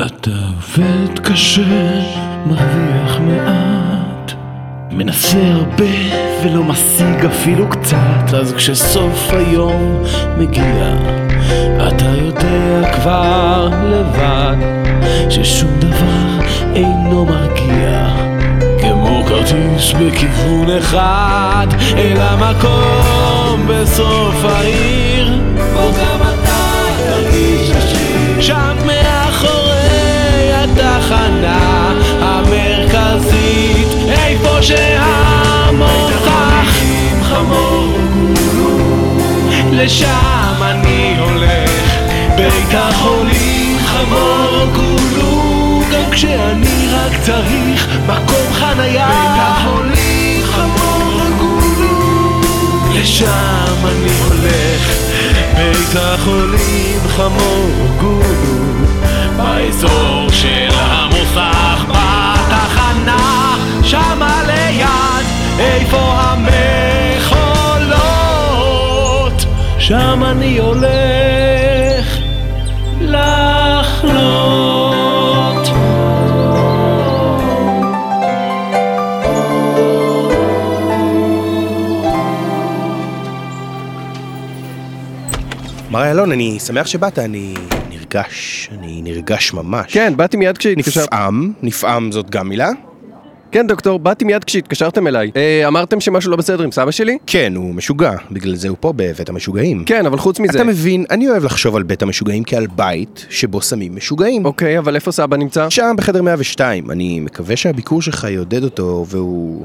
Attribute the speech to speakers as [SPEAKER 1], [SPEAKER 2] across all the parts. [SPEAKER 1] אתה עובד קשה, מרוויח מעט, מנסה הרבה ולא משיג אפילו קצת, אז כשסוף היום מגיע, אתה יודע כבר לבד, ששום דבר אינו מרגיע, כמו כרטיס בכיוון אחד, אל המקום בסוף העיר, בו גם אתה תרגיש עשיר, שם מאחורי התחנה המרכזית, איפה שהמוכח חמור, לשם אני הולך, בית החולים חמור כולו, גם כשאני רק צריך מקום חנייה, בית החולים חמור כולו, לשם אני הולך, בית החולים חמור גולו, באזור של המוסך בתחנה, שמה ליד, איפה המכולות, שם אני הולך לחלות.
[SPEAKER 2] מר איילון, אני שמח שבאת, אני נרגש, אני נרגש ממש.
[SPEAKER 3] כן, באתי מיד כשהתקשר...
[SPEAKER 2] נפעם, נפעם זאת גם מילה?
[SPEAKER 3] כן, דוקטור, באתי מיד כשהתקשרתם אליי. אה, אמרתם שמשהו לא בסדר עם סבא שלי?
[SPEAKER 2] כן, הוא משוגע, בגלל זה הוא פה בבית המשוגעים.
[SPEAKER 3] כן, אבל חוץ מזה...
[SPEAKER 2] אתה מבין, אני אוהב לחשוב על בית המשוגעים כעל בית שבו שמים משוגעים.
[SPEAKER 3] אוקיי, אבל איפה סבא נמצא?
[SPEAKER 2] שם בחדר 102, אני מקווה שהביקור שלך יעודד אותו והוא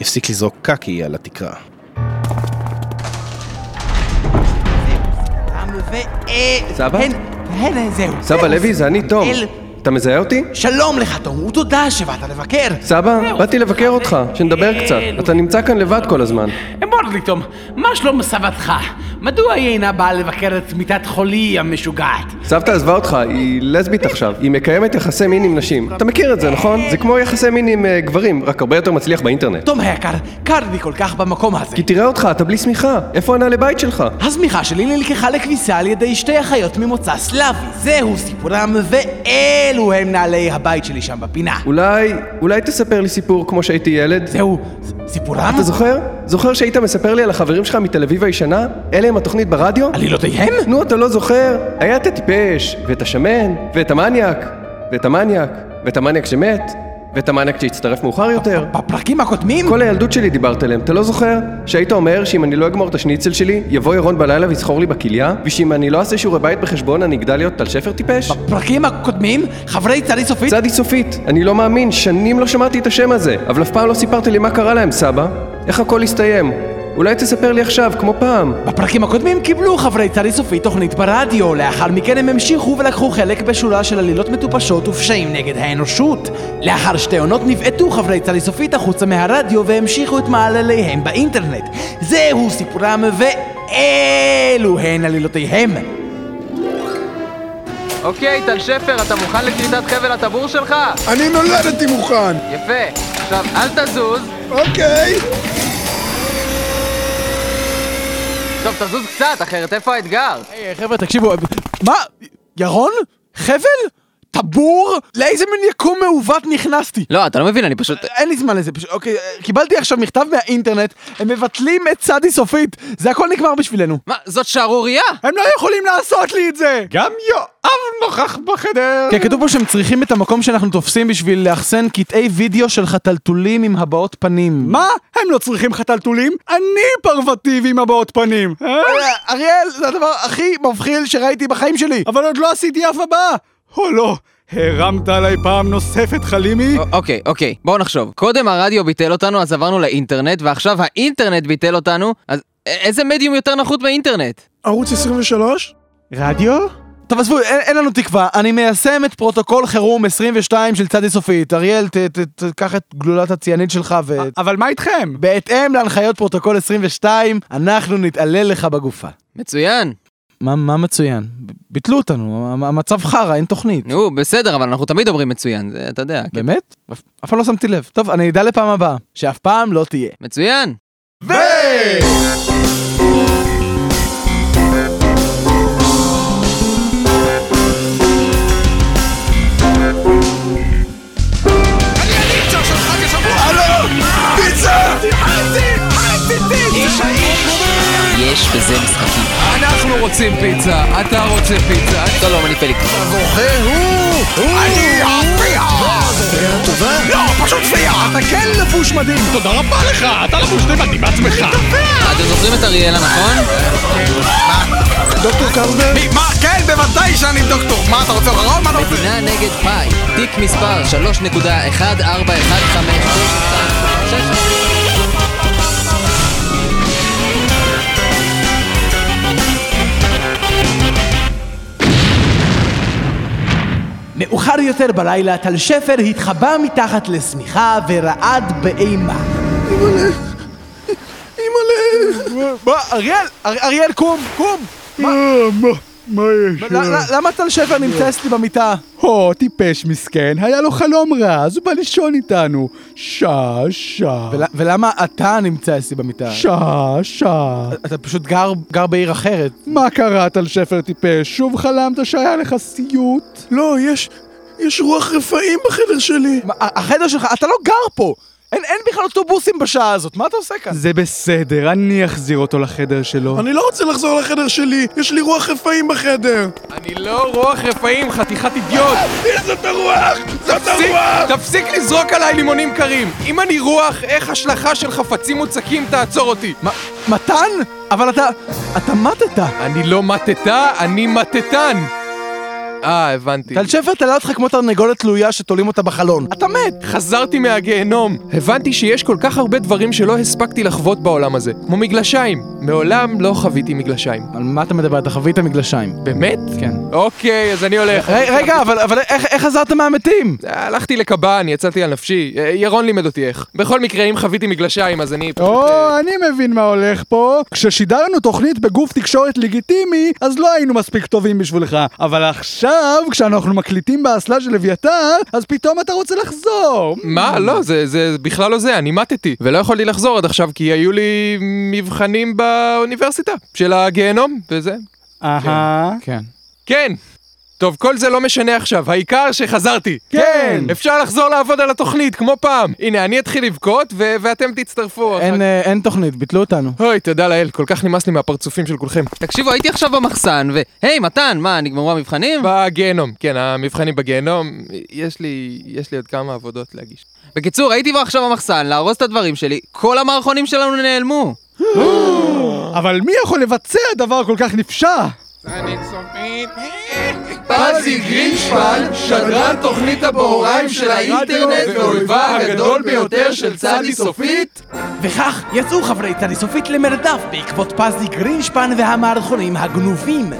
[SPEAKER 2] יפסיק לזרוק קקי על התקרה.
[SPEAKER 4] עם ו... אה,
[SPEAKER 3] סבא?
[SPEAKER 4] הן, הן, אה, זהו.
[SPEAKER 3] סבא
[SPEAKER 4] זהו,
[SPEAKER 3] לוי, זה אני, תום.
[SPEAKER 4] אל-
[SPEAKER 3] אתה מזהה אותי?
[SPEAKER 4] שלום לך, תום, ותודה שבאת לבקר.
[SPEAKER 3] סבא, באתי לבקר אותך, שנדבר קצת.
[SPEAKER 4] אה,
[SPEAKER 3] אתה נמצא כאן לבד כל הזמן.
[SPEAKER 5] מורליקטום, מה שלום סבתך? מדוע היא אינה באה לבקר את מיטת חולי המשוגעת?
[SPEAKER 3] סבתא עזבה אותך, היא לסבית עכשיו. היא מקיימת יחסי מין עם נשים. אתה מכיר את זה, נכון? זה כמו יחסי מין עם אה, גברים, רק הרבה יותר מצליח באינטרנט.
[SPEAKER 4] תום היקר, קר לי כל כך במקום הזה.
[SPEAKER 3] כי תראה אותך, אתה בלי שמיכה. איפה הנעלי בית שלך?
[SPEAKER 4] הזמיכה שלי נלקחה לכביסה על ידי שתי אחיות ממוצא סלאבי. זהו סיפורם, ואלו הם נעלי הבית שלי שם בפינה.
[SPEAKER 3] אולי, אולי תספר לי סיפור כמו שהייתי ילד?
[SPEAKER 4] זהו ס- סיפורם?
[SPEAKER 3] אתה זוכר? זוכר שהיית מספר לי על החברים שלך מתל אביב הישנה? אלה הם התוכנית ברדיו?
[SPEAKER 4] עלילותיהם?
[SPEAKER 3] נו, אתה לא זוכר? היה את הטיפש, ואת השמן, ואת המניאק, ואת המניאק, ואת המניאק שמת, ואת המניאק שהצטרף מאוחר יותר.
[SPEAKER 4] בפרקים הקודמים?
[SPEAKER 3] כל הילדות שלי דיברת אליהם, אתה לא זוכר? שהיית אומר שאם אני לא אגמור את השניצל שלי, יבוא ירון בלילה ויסחור לי בכליה? ושאם אני לא אעשה שיעורי בית בחשבון, אני אגדל להיות טל שפר טיפש?
[SPEAKER 4] בפרקים הקודמים? חברי צדי סופית?
[SPEAKER 3] צדי סופית, אני לא מאמין, שנים לא שמעתי את השם הזה, אבל אף פעם לא סיפרת לי מה קרה להם, סבא. איך הכל הסתיים? אולי תספר לי עכשיו, כמו פעם.
[SPEAKER 4] בפרקים הקודמים קיבלו חברי צדי סופית תוכנית ברדיו, לאחר מכן הם המשיכו ולקחו חלק בשורה של עלילות מטופשות ופשעים נגד האנושות. לאחר שתי עונות נבעטו חברי צדי סופית החוצה מהרדיו והמשיכו את מעלליהם באינטרנט. זהו סיפורם ואלו הן עלילותיהם.
[SPEAKER 6] אוקיי, טל שפר, אתה מוכן לקליטת חבל הטבור שלך?
[SPEAKER 7] אני נולדתי מוכן,
[SPEAKER 6] יפה. עכשיו, אל תזוז.
[SPEAKER 7] אוקיי.
[SPEAKER 6] טוב, תזוז קצת, אחרת איפה האתגר?
[SPEAKER 4] היי, חבר'ה, תקשיבו, מה? ירון? חבל? טבור? לאיזה מין יקום מעוות נכנסתי?
[SPEAKER 8] לא, אתה לא מבין, אני פשוט...
[SPEAKER 4] אין לי זמן לזה, פשוט, אוקיי, אה, קיבלתי עכשיו מכתב מהאינטרנט, הם מבטלים את צדי סופית, זה הכל נגמר בשבילנו.
[SPEAKER 8] מה, זאת שערורייה!
[SPEAKER 4] הם לא יכולים לעשות לי את זה!
[SPEAKER 3] גם יואב נוכח בחדר!
[SPEAKER 4] כן, כתוב פה שהם צריכים את המקום שאנחנו תופסים בשביל לאחסן קטעי וידאו של חתלתולים עם הבעות פנים.
[SPEAKER 9] מה? הם לא צריכים חתלתולים? אני פרבטיבי עם הבעות פנים. אה?
[SPEAKER 4] אה, אריאל, זה הדבר הכי מבחיל שראיתי בחיים שלי!
[SPEAKER 9] אבל עוד לא עשיתי אף הבאה. או לא, הרמת עליי פעם נוספת, חלימי?
[SPEAKER 8] א- אוקיי, אוקיי, בואו נחשוב. קודם הרדיו ביטל אותנו, אז עברנו לאינטרנט, ועכשיו האינטרנט ביטל אותנו, אז א- איזה מדיום יותר נחות מהאינטרנט?
[SPEAKER 7] ערוץ 23?
[SPEAKER 4] רדיו? טוב עזבו, אין, אין לנו תקווה, אני מיישם את פרוטוקול חירום 22 של צדי סופית. אריאל, ת- ת- ת- קח את גלולת הציאנית שלך ו...
[SPEAKER 9] אבל מה איתכם?
[SPEAKER 4] בהתאם להנחיות פרוטוקול 22, אנחנו נתעלל לך בגופה.
[SPEAKER 8] מצוין.
[SPEAKER 4] מה, מה מצוין? ב- ביטלו אותנו, המ- המצב חרא, אין
[SPEAKER 9] כן.
[SPEAKER 4] תוכנית.
[SPEAKER 8] נו, בסדר, אבל אנחנו תמיד אומרים מצוין, זה, אתה יודע. כן.
[SPEAKER 4] באמת? אף- אף פעם לא שמתי לב. טוב, אני אדע לפעם הבאה, שאף פעם לא תהיה.
[SPEAKER 8] מצוין. בזה משחקים.
[SPEAKER 3] אנחנו רוצים פיצה, אתה רוצה פיצה. אני-
[SPEAKER 8] שלום, אני פליקס. אתם זוכרים את אריאלה, נכון?
[SPEAKER 10] דוקטור קרבר?
[SPEAKER 3] מה, כן, בוודאי שאני דוקטור. מה, אתה רוצה רוב? מה אתה רוצה?
[SPEAKER 8] מדינה נגד פאי, תיק מספר 3.141592.
[SPEAKER 4] מאוחר יותר בלילה, טל שפר התחבא מתחת לשמיכה ורעד באימה.
[SPEAKER 9] מה, אריאל, אריאל, קום, קום! אה,
[SPEAKER 10] מה יש?
[SPEAKER 9] למה טל שפר נמצא אצלי במיטה? הו, טיפש מסכן, היה לו חלום רע, אז הוא בא לישון איתנו. שעה, שעה.
[SPEAKER 4] ולמה אתה נמצא אצלי במיטה?
[SPEAKER 9] שעה, שעה.
[SPEAKER 4] אתה פשוט גר, גר בעיר אחרת.
[SPEAKER 9] מה קרה, טל שפר טיפש? שוב חלמת שהיה לך סיוט?
[SPEAKER 10] לא, יש... יש רוח רפאים בחדר שלי.
[SPEAKER 4] מה, ה- החדר שלך, אתה לא גר פה! אין, אין בכלל אוטובוסים בשעה הזאת, מה אתה עושה כאן?
[SPEAKER 9] זה בסדר, אני אחזיר אותו לחדר שלו.
[SPEAKER 10] אני לא רוצה לחזור לחדר שלי, יש לי רוח רפאים בחדר.
[SPEAKER 3] אני לא רוח רפאים, חתיכת אידיוט.
[SPEAKER 10] זאת הרוח! זאת
[SPEAKER 3] תפסיק-
[SPEAKER 10] הרוח!
[SPEAKER 3] תפסיק לזרוק עליי לימונים קרים. אם אני רוח, איך השלכה של חפצים מוצקים תעצור אותי? מה,
[SPEAKER 4] מתן? אבל אתה... אתה מתת.
[SPEAKER 3] אני לא מטטה, אני מטטן. אה, הבנתי.
[SPEAKER 4] טל שפר תלה אותך כמו תרנגולת תלויה שתולים אותה בחלון. אתה מת!
[SPEAKER 3] חזרתי מהגיהנום. הבנתי שיש כל כך הרבה דברים שלא הספקתי לחוות בעולם הזה. כמו מגלשיים. מעולם לא חוויתי מגלשיים.
[SPEAKER 4] על מה אתה מדבר? אתה חווית מגלשיים.
[SPEAKER 3] באמת?
[SPEAKER 4] כן.
[SPEAKER 3] אוקיי, אז אני הולך.
[SPEAKER 4] ר- רגע, אבל, אבל איך, איך חזרת מהמתים?
[SPEAKER 3] הלכתי לקב"ן, יצאתי על נפשי. אה, ירון לימד אותי איך. בכל מקרה, אם חוויתי מגלשיים, אז אני... פשוט,
[SPEAKER 9] או,
[SPEAKER 3] אה,
[SPEAKER 9] אני מבין מה הולך פה. כששידרנו תוכנית בגוף תקשורת לגיטימי, אז לא היינו מספיק טובים בשבילך. אבל עכשיו, כשאנחנו מקליטים באסלה של אביתר, אז פתאום אתה רוצה לחזור.
[SPEAKER 3] מה? לא, זה, זה בכלל לא זה, אני מתתי. ולא יכולתי לחזור עד עכשיו, כי היו לי מבחנים באוניברסיטה של הגיהנום, וזה.
[SPEAKER 9] אהה.
[SPEAKER 4] כן.
[SPEAKER 3] כן. טוב, כל זה לא משנה עכשיו, העיקר שחזרתי.
[SPEAKER 9] כן.
[SPEAKER 3] אפשר לחזור לעבוד על התוכנית, כמו פעם. הנה, אני אתחיל לבכות, ו- ואתם תצטרפו. אחר
[SPEAKER 4] אין, אה, אין תוכנית, ביטלו אותנו.
[SPEAKER 3] אוי, תודה לאל, כל כך נמאס לי מהפרצופים של כולכם.
[SPEAKER 8] תקשיבו, הייתי עכשיו במחסן, ו... היי, מתן, מה, נגמרו המבחנים?
[SPEAKER 3] בגיהנום, כן, המבחנים בגיהנום, יש לי, יש לי עוד כמה עבודות להגיש.
[SPEAKER 8] בקיצור, הייתי כבר עכשיו במחסן, לארוז את הדברים שלי, כל המערכונים שלנו נעלמו.
[SPEAKER 9] אבל מי יכול לבצע דבר כל כך נפשע?
[SPEAKER 3] פזי גרינשפן, שדרן תוכנית הבהוריים של האינטרנט ואויבה הגדול ביותר של צדי סופית?
[SPEAKER 4] וכך יצאו חברי צדי סופית למרדף בעקבות פזי גרינשפן והמערכונים הגנובים.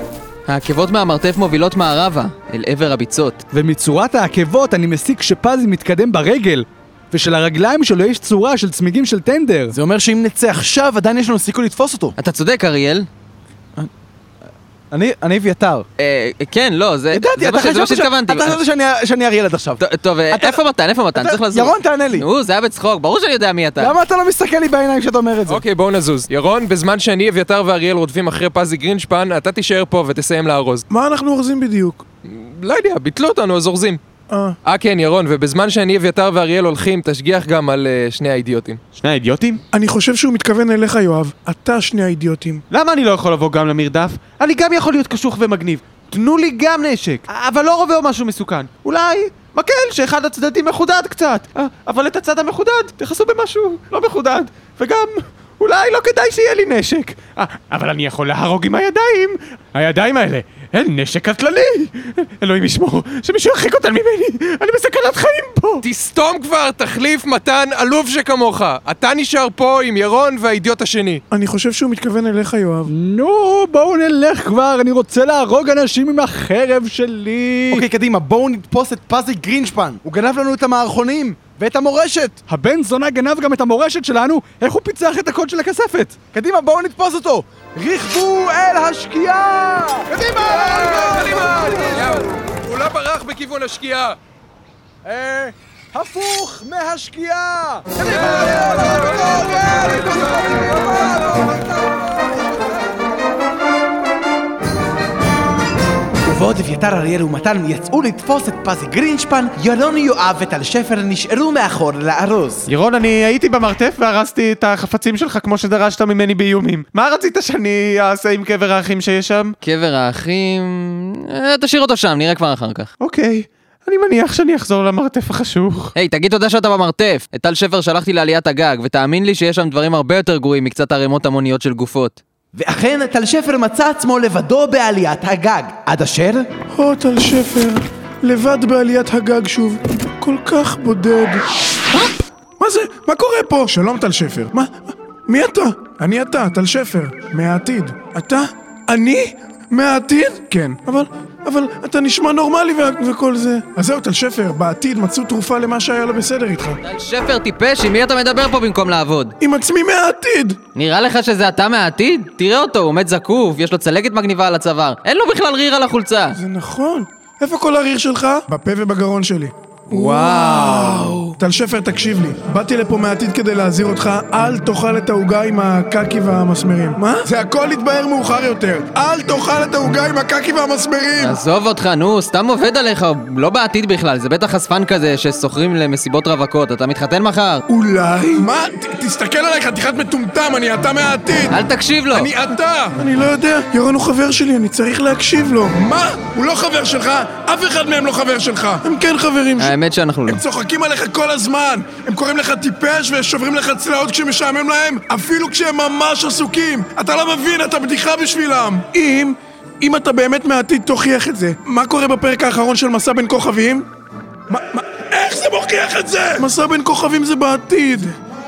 [SPEAKER 8] העקבות מהמרתף מובילות מערבה, אל עבר הביצות.
[SPEAKER 9] ומצורת העקבות אני מסיק שפזי מתקדם ברגל, ושלרגליים שלו יש צורה של צמיגים של טנדר.
[SPEAKER 4] זה אומר שאם נצא עכשיו, עדיין יש לנו סיכוי לתפוס אותו.
[SPEAKER 8] אתה צודק, אריאל.
[SPEAKER 4] אני, אני אביתר.
[SPEAKER 8] אה, כן, לא, זה...
[SPEAKER 4] ידעתי,
[SPEAKER 8] זה
[SPEAKER 4] אתה
[SPEAKER 8] מה ש- זה מה
[SPEAKER 4] חשבת ש-
[SPEAKER 8] שהתכוונתי.
[SPEAKER 4] אתה חשבת שאני- שאני אריאל עד עכשיו.
[SPEAKER 8] ט- טוב, אה,
[SPEAKER 4] אתה-
[SPEAKER 8] איפה מתן? איפה מתן?
[SPEAKER 4] אתה-
[SPEAKER 8] צריך לזוז.
[SPEAKER 4] ירון, תענה לי.
[SPEAKER 8] נו, זה היה בצחוק, ברור שאני יודע מי אתה.
[SPEAKER 4] למה אתה לא מסתכל לי בעיניים כשאתה אומר את זה?
[SPEAKER 3] אוקיי, בואו נזוז. ירון, בזמן שאני, אביתר ואריאל רודפים אחרי פזי גרינשפן, אתה תישאר פה ותסיים לארוז.
[SPEAKER 10] מה אנחנו אורזים בדיוק?
[SPEAKER 3] לא יודע, ביטלו אותנו, אז אורזים.
[SPEAKER 10] אה.
[SPEAKER 3] אה כן, ירון, ובזמן שאני, אביתר ואריאל הולכים, תשגיח גם על אה, שני האידיוטים.
[SPEAKER 11] שני האידיוטים?
[SPEAKER 10] אני חושב שהוא מתכוון אליך, יואב. אתה שני האידיוטים.
[SPEAKER 11] למה אני לא יכול לבוא גם למרדף? אני גם יכול להיות קשוח ומגניב. תנו לי גם נשק, אבל לא רובה או משהו מסוכן. אולי מקל שאחד הצדדים מחודד קצת. אה, אבל את הצד המחודד תכסו במשהו לא מחודד. וגם, אולי לא כדאי שיהיה לי נשק. אה, אבל אני יכול להרוג עם הידיים. הידיים האלה, אין נשק קטלני. אלוהים ישמור, שמישהו ירחיק אותן ממני. אני בסכנת חיים פה.
[SPEAKER 3] תסתום כבר, תחליף מתן עלוב שכמוך. אתה נשאר פה עם ירון והאידיוט השני.
[SPEAKER 10] אני חושב שהוא מתכוון אליך, יואב.
[SPEAKER 9] נו, בואו נלך כבר, אני רוצה להרוג אנשים עם החרב שלי.
[SPEAKER 4] אוקיי, קדימה, בואו נתפוס את פזי גרינשפן. הוא גנב לנו את המערכונים ואת המורשת.
[SPEAKER 9] הבן זונה גנב גם את המורשת שלנו, איך הוא פיצח את הקוד של הכספת?
[SPEAKER 4] קדימה, בואו נתפוס אותו! רכבו אל השקיעה!
[SPEAKER 3] קדימה! הוא לא ברח בכיוון השקיעה.
[SPEAKER 4] אה, הפוך מהשקיעה! ועוד אביתר אריאל ומתן יצאו לתפוס את פזי גרינשפן, ילון יואב וטל שפר נשארו מאחור לארוז.
[SPEAKER 11] ירון, אני הייתי במרתף והרסתי את החפצים שלך כמו שדרשת ממני באיומים. מה רצית שאני אעשה עם קבר האחים שיש שם?
[SPEAKER 8] קבר האחים... אה, תשאיר אותו שם, נראה כבר אחר כך.
[SPEAKER 11] אוקיי, אני מניח שאני אחזור למרתף החשוך.
[SPEAKER 8] היי, תגיד תודה שאתה במרתף. את טל שפר שלחתי לעליית הגג, ותאמין לי שיש שם דברים הרבה יותר גרועים מקצת ערימות המוניות של גופות.
[SPEAKER 4] ואכן, טל שפר מצא עצמו לבדו בעליית הגג, עד אשר...
[SPEAKER 10] או, טל שפר, לבד בעליית הגג שוב, כל כך בודד. מה זה? מה קורה פה? שלום, טל שפר. מה? מי אתה? אני אתה, טל שפר, מהעתיד. אתה? אני? מהעתיד? כן. אבל... אבל אתה נשמע נורמלי וה- וכל זה. אז זהו, טל שפר, בעתיד מצאו תרופה למה שהיה לא בסדר איתך.
[SPEAKER 8] טל שפר טיפש, עם מי אתה מדבר פה במקום לעבוד?
[SPEAKER 10] עם עצמי מהעתיד!
[SPEAKER 8] נראה לך שזה אתה מהעתיד? תראה אותו, הוא עומד זקוף, יש לו צלקת מגניבה על הצוואר, אין לו בכלל ריר על החולצה.
[SPEAKER 10] זה נכון. איפה כל הריר שלך? בפה ובגרון שלי.
[SPEAKER 8] וואו.
[SPEAKER 10] טל שפר, תקשיב לי. באתי לפה מהעתיד כדי להזהיר אותך, אל תאכל את העוגה עם הקקי והמסמרים. מה? זה הכל יתבהר מאוחר יותר. אל תאכל את העוגה עם הקקי והמסמרים!
[SPEAKER 8] עזוב אותך, נו, סתם עובד עליך, לא בעתיד בכלל, זה בטח חשפן כזה ששוכרים למסיבות רווקות, אתה מתחתן מחר?
[SPEAKER 10] אולי... מה? ת- תסתכל עליי, חתיכת מטומטם, אני אתה מהעתיד!
[SPEAKER 8] אל תקשיב לו!
[SPEAKER 10] אני אתה! אני לא יודע, ירון הוא חבר שלי, אני צריך להקשיב לו. מה? הוא לא חבר שלך? אף אחד מהם לא חבר שלך! הם כן חברים שלי.
[SPEAKER 8] האמת שאנחנו לא.
[SPEAKER 10] הם צוחקים עליך כל הזמן! הם קוראים לך טיפש ושוברים לך צלעות כשמשעמם להם, אפילו כשהם ממש עסוקים! אתה לא מבין, אתה בדיחה בשבילם! אם... אם אתה באמת מהעתיד, תוכיח את זה. מה קורה בפרק האחרון של מסע בין כוכבים? מה... מה... איך זה מוכיח את זה? מסע בין כוכבים זה בעתיד!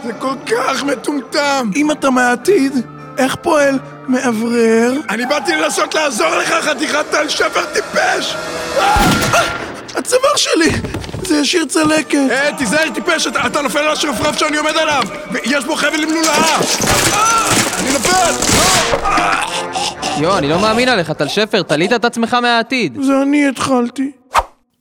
[SPEAKER 10] זה כל כך מטומטם! אם אתה מהעתיד, איך פועל מאוורר? אני באתי לנסות לעזור לך, חתיכת טל שפר טיפש! אה! אה! הצוואר שלי! זה ישיר צלקת. אה, תיזהר, טיפש, אתה, אתה נופל על השרפרף שאני עומד עליו! ויש בו חבל עם לולאה! אה, אני נופל!
[SPEAKER 8] יואו, אני לא מאמין עליך, טל שפר, תלית את עצמך מהעתיד.
[SPEAKER 10] זה אני התחלתי.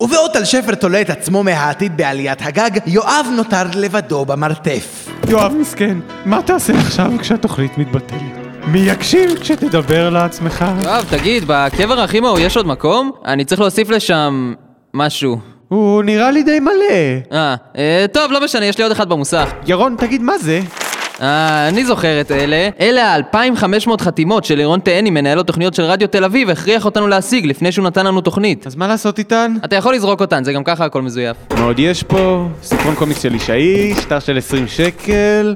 [SPEAKER 4] ובעוד טל שפר תולה את עצמו מהעתיד בעליית הגג, יואב נותר לבדו במרתף.
[SPEAKER 11] יואב מסכן, מה תעשה עכשיו כשהתוכנית מתבטלת? מי יקשיב כשתדבר לעצמך?
[SPEAKER 8] יואב, תגיד, בקבר האחים ההוא יש עוד מקום? אני צריך להוסיף לשם... משהו.
[SPEAKER 11] הוא נראה לי די מלא.
[SPEAKER 8] אה, אה, טוב, לא משנה, יש לי עוד אחד במוסך.
[SPEAKER 11] ירון, תגיד מה זה?
[SPEAKER 8] אה, אני זוכר את אלה. אלה ה-2500 חתימות של לירון תהני, מנהל התוכניות של רדיו תל אביב, הכריח אותנו להשיג לפני שהוא נתן לנו תוכנית.
[SPEAKER 11] אז מה לעשות איתן?
[SPEAKER 8] אתה יכול לזרוק אותן, זה גם ככה הכל מזויף.
[SPEAKER 11] מה עוד יש פה? סיפרון קומיקס של ישעי, שטר של 20 שקל.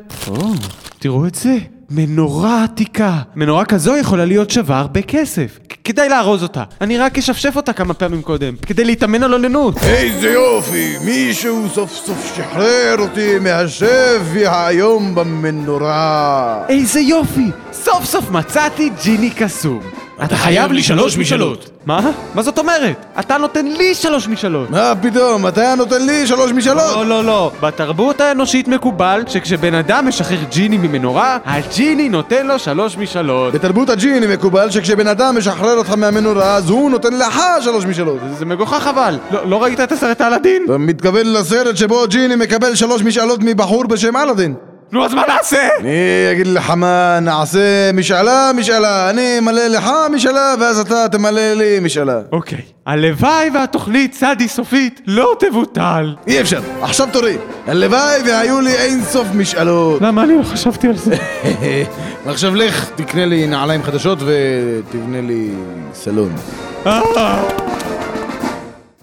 [SPEAKER 11] תראו את זה, מנורה עתיקה. מנורה כזו יכולה להיות שווה הרבה כסף. כ- כדאי לארוז אותה. אני רק אשפשף אותה כמה פעמים קודם, כדי להתאמן על אוננות.
[SPEAKER 12] איזה יופי, מישהו סוף סוף שחרר אותי מהשבי האיום במנורה.
[SPEAKER 11] איזה יופי! סוף סוף מצאתי ג'יני קסום. אתה חייב לי שלוש משאלות. מה? מה זאת אומרת? אתה נותן לי שלוש משאלות.
[SPEAKER 12] מה פתאום, אתה נותן לי שלוש משאלות?
[SPEAKER 11] לא, לא, לא. בתרבות האנושית מקובל שכשבן אדם משחרר ג'יני ממנורה, הג'יני נותן לו שלוש משאלות.
[SPEAKER 12] בתרבות הג'יני מקובל שכשבן אדם משחרר אותך מהמנורה, אז הוא נותן לך שלוש משאלות.
[SPEAKER 11] זה מגוחך אבל. לא ראית את הסרט אלאדין?
[SPEAKER 12] אתה מתכוון לסרט שבו ג'יני מקבל שלוש משאלות מבחור בשם אלאדין.
[SPEAKER 11] נו, אז מה נעשה?
[SPEAKER 12] אני אגיד לך מה נעשה, משאלה, משאלה. אני אמלא לך משאלה, ואז אתה תמלא לי משאלה.
[SPEAKER 11] אוקיי. הלוואי והתוכנית סעדי סופית לא תבוטל.
[SPEAKER 12] אי אפשר, עכשיו תורי. הלוואי והיו לי אין סוף משאלות.
[SPEAKER 11] למה אני לא חשבתי על זה?
[SPEAKER 12] עכשיו לך, תקנה לי נעליים חדשות ותבנה לי סלון.
[SPEAKER 11] אה,